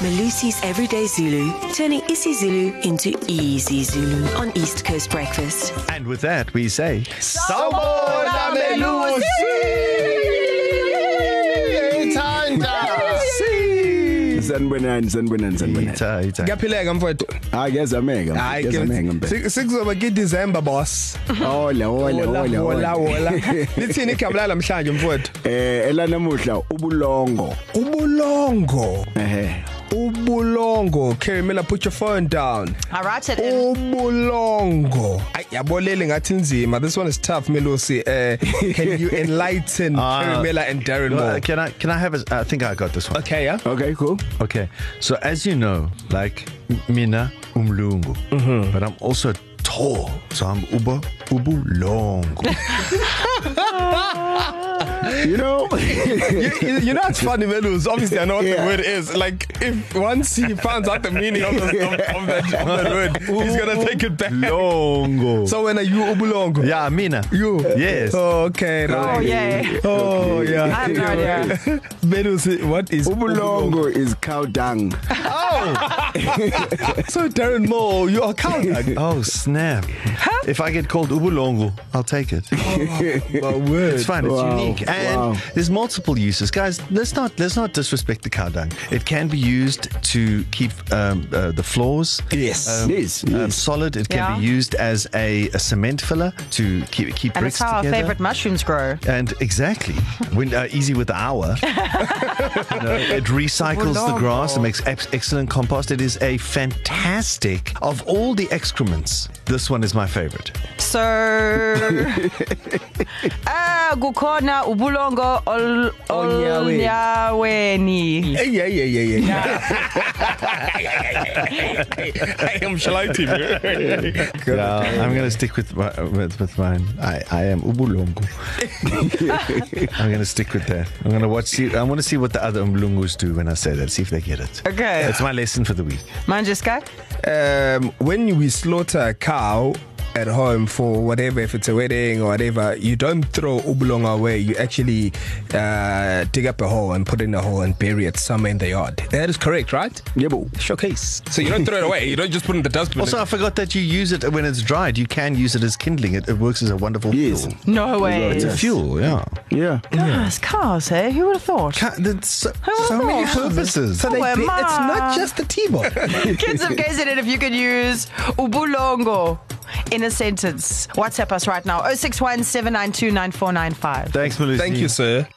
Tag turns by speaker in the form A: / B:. A: Malusi's Everyday Zulu, turning isiZulu into easy Zulu on East Coast Breakfast.
B: And with that, we say,
C: Sawubona, Melusi!
B: Ithanda!
C: sanibonani sanibonani sanibonani
B: Itha, itha.
D: kuyaphileka mfowethu
C: hayi kuyazameka mfethu,
D: hayi
C: kuyazameka mpela
D: ke sikuzoba kidecember boss
C: ola ola ola
D: wola wola
C: ola
D: lithini igama la namhlanje mfowethu
C: eh elanamuhla ubulongo
D: ubulongo
C: ehe
D: ubulongo Carrie Miller put your phone down
E: I write it in.
D: ubulongo Ay, yabolele ngathi nzima this one is tough melusi uh, can you enlighten
B: Ah.
D: Carrie Miller and Darren
B: Well,
D: Moore
B: can I can I have a? I think I got this one.
D: okay yeah
C: okay cool
B: Okay. So as you know, like mina umlungu, mm-hmm. but I'm also tall, so I'm ubo ubu longo.
C: you know
D: you, you know what's funny, Melus? Obviously, I know what yeah.
C: Yeah.
D: the word is. Like, if once he finds out the meaning of, the, of, of, that, of that word, he's gonna take it back.
B: longo.
D: So when are you ubulongo?
B: yeah, mina.
D: You?
B: Yes.
D: Oh, okay.
E: Oh,
D: Right.
E: yeah.
D: Oh, yeah.
E: I have no idea.
D: Melus, what is
C: ubulongo is cow dung
D: So, Darren Moore, you are counting.
B: Oh snap! If I get called ubulongo, I'll take it.
D: My word.
B: It's fine. It's
C: Wow,
B: unique, and
C: wow.
B: there's multiple uses, guys. Let's not let's not disrespect the cow dung. It can be used to keep um, uh, the floors
D: Yes.
B: um,
C: Yes,
B: um,
C: yes.
B: solid. It can yeah. be
E: Yeah.
B: used as a, a cement filler to keep keep
E: And
B: bricks
E: it's how our
B: together.
E: favorite mushrooms grow.
B: And exactly, when uh, easy with the hour, you know, it recycles the grass and makes ex- excellent compost. It is a fantastic of all the excrements. This one is my favorite.
E: So, ah, gukona ubulongo ol
D: Onyaweni.
E: olnyaweni.
D: Hey, yeah, yeah, yeah, yeah. I am shouting.
B: Yeah, I'm going to stick with my, with, with mine. I, I am ubulungu. I'm going to stick with that. I'm going to watch. See, I want to see what the other umbulungus do when I say that. See if they get it.
E: Okay.
B: That's my lesson for the week.
E: Manjiska?
D: um, when we slaughter a cow at home for whatever, if it's a wedding or whatever, you don't throw oblong away. You actually uh, dig up a hole and put it in a hole and bury it somewhere in the yard. That is correct, right?
C: yebo
D: Showcase. So you don't throw it away. You don't just put it in the dustbin.
B: Also, I forgot that you use it when it's dried. You can use it as kindling. It, it works as a wonderful
C: Yes.
B: fuel.
E: No way.
B: It's a fuel, yeah.
C: yeah
E: Yes, cars, hey? Who would have thought?
B: Ca- That's so,
E: would
B: so
E: have
B: many
E: thought?
B: purposes.
E: they-
D: it's
E: Where ma-
D: not just the T-bone.
E: Kids of KZN, if you could use ubulongo in a oh sentence, WhatsApp us right now 061 792 9495.
B: Thanks, Melissa.
D: Thank you, sir.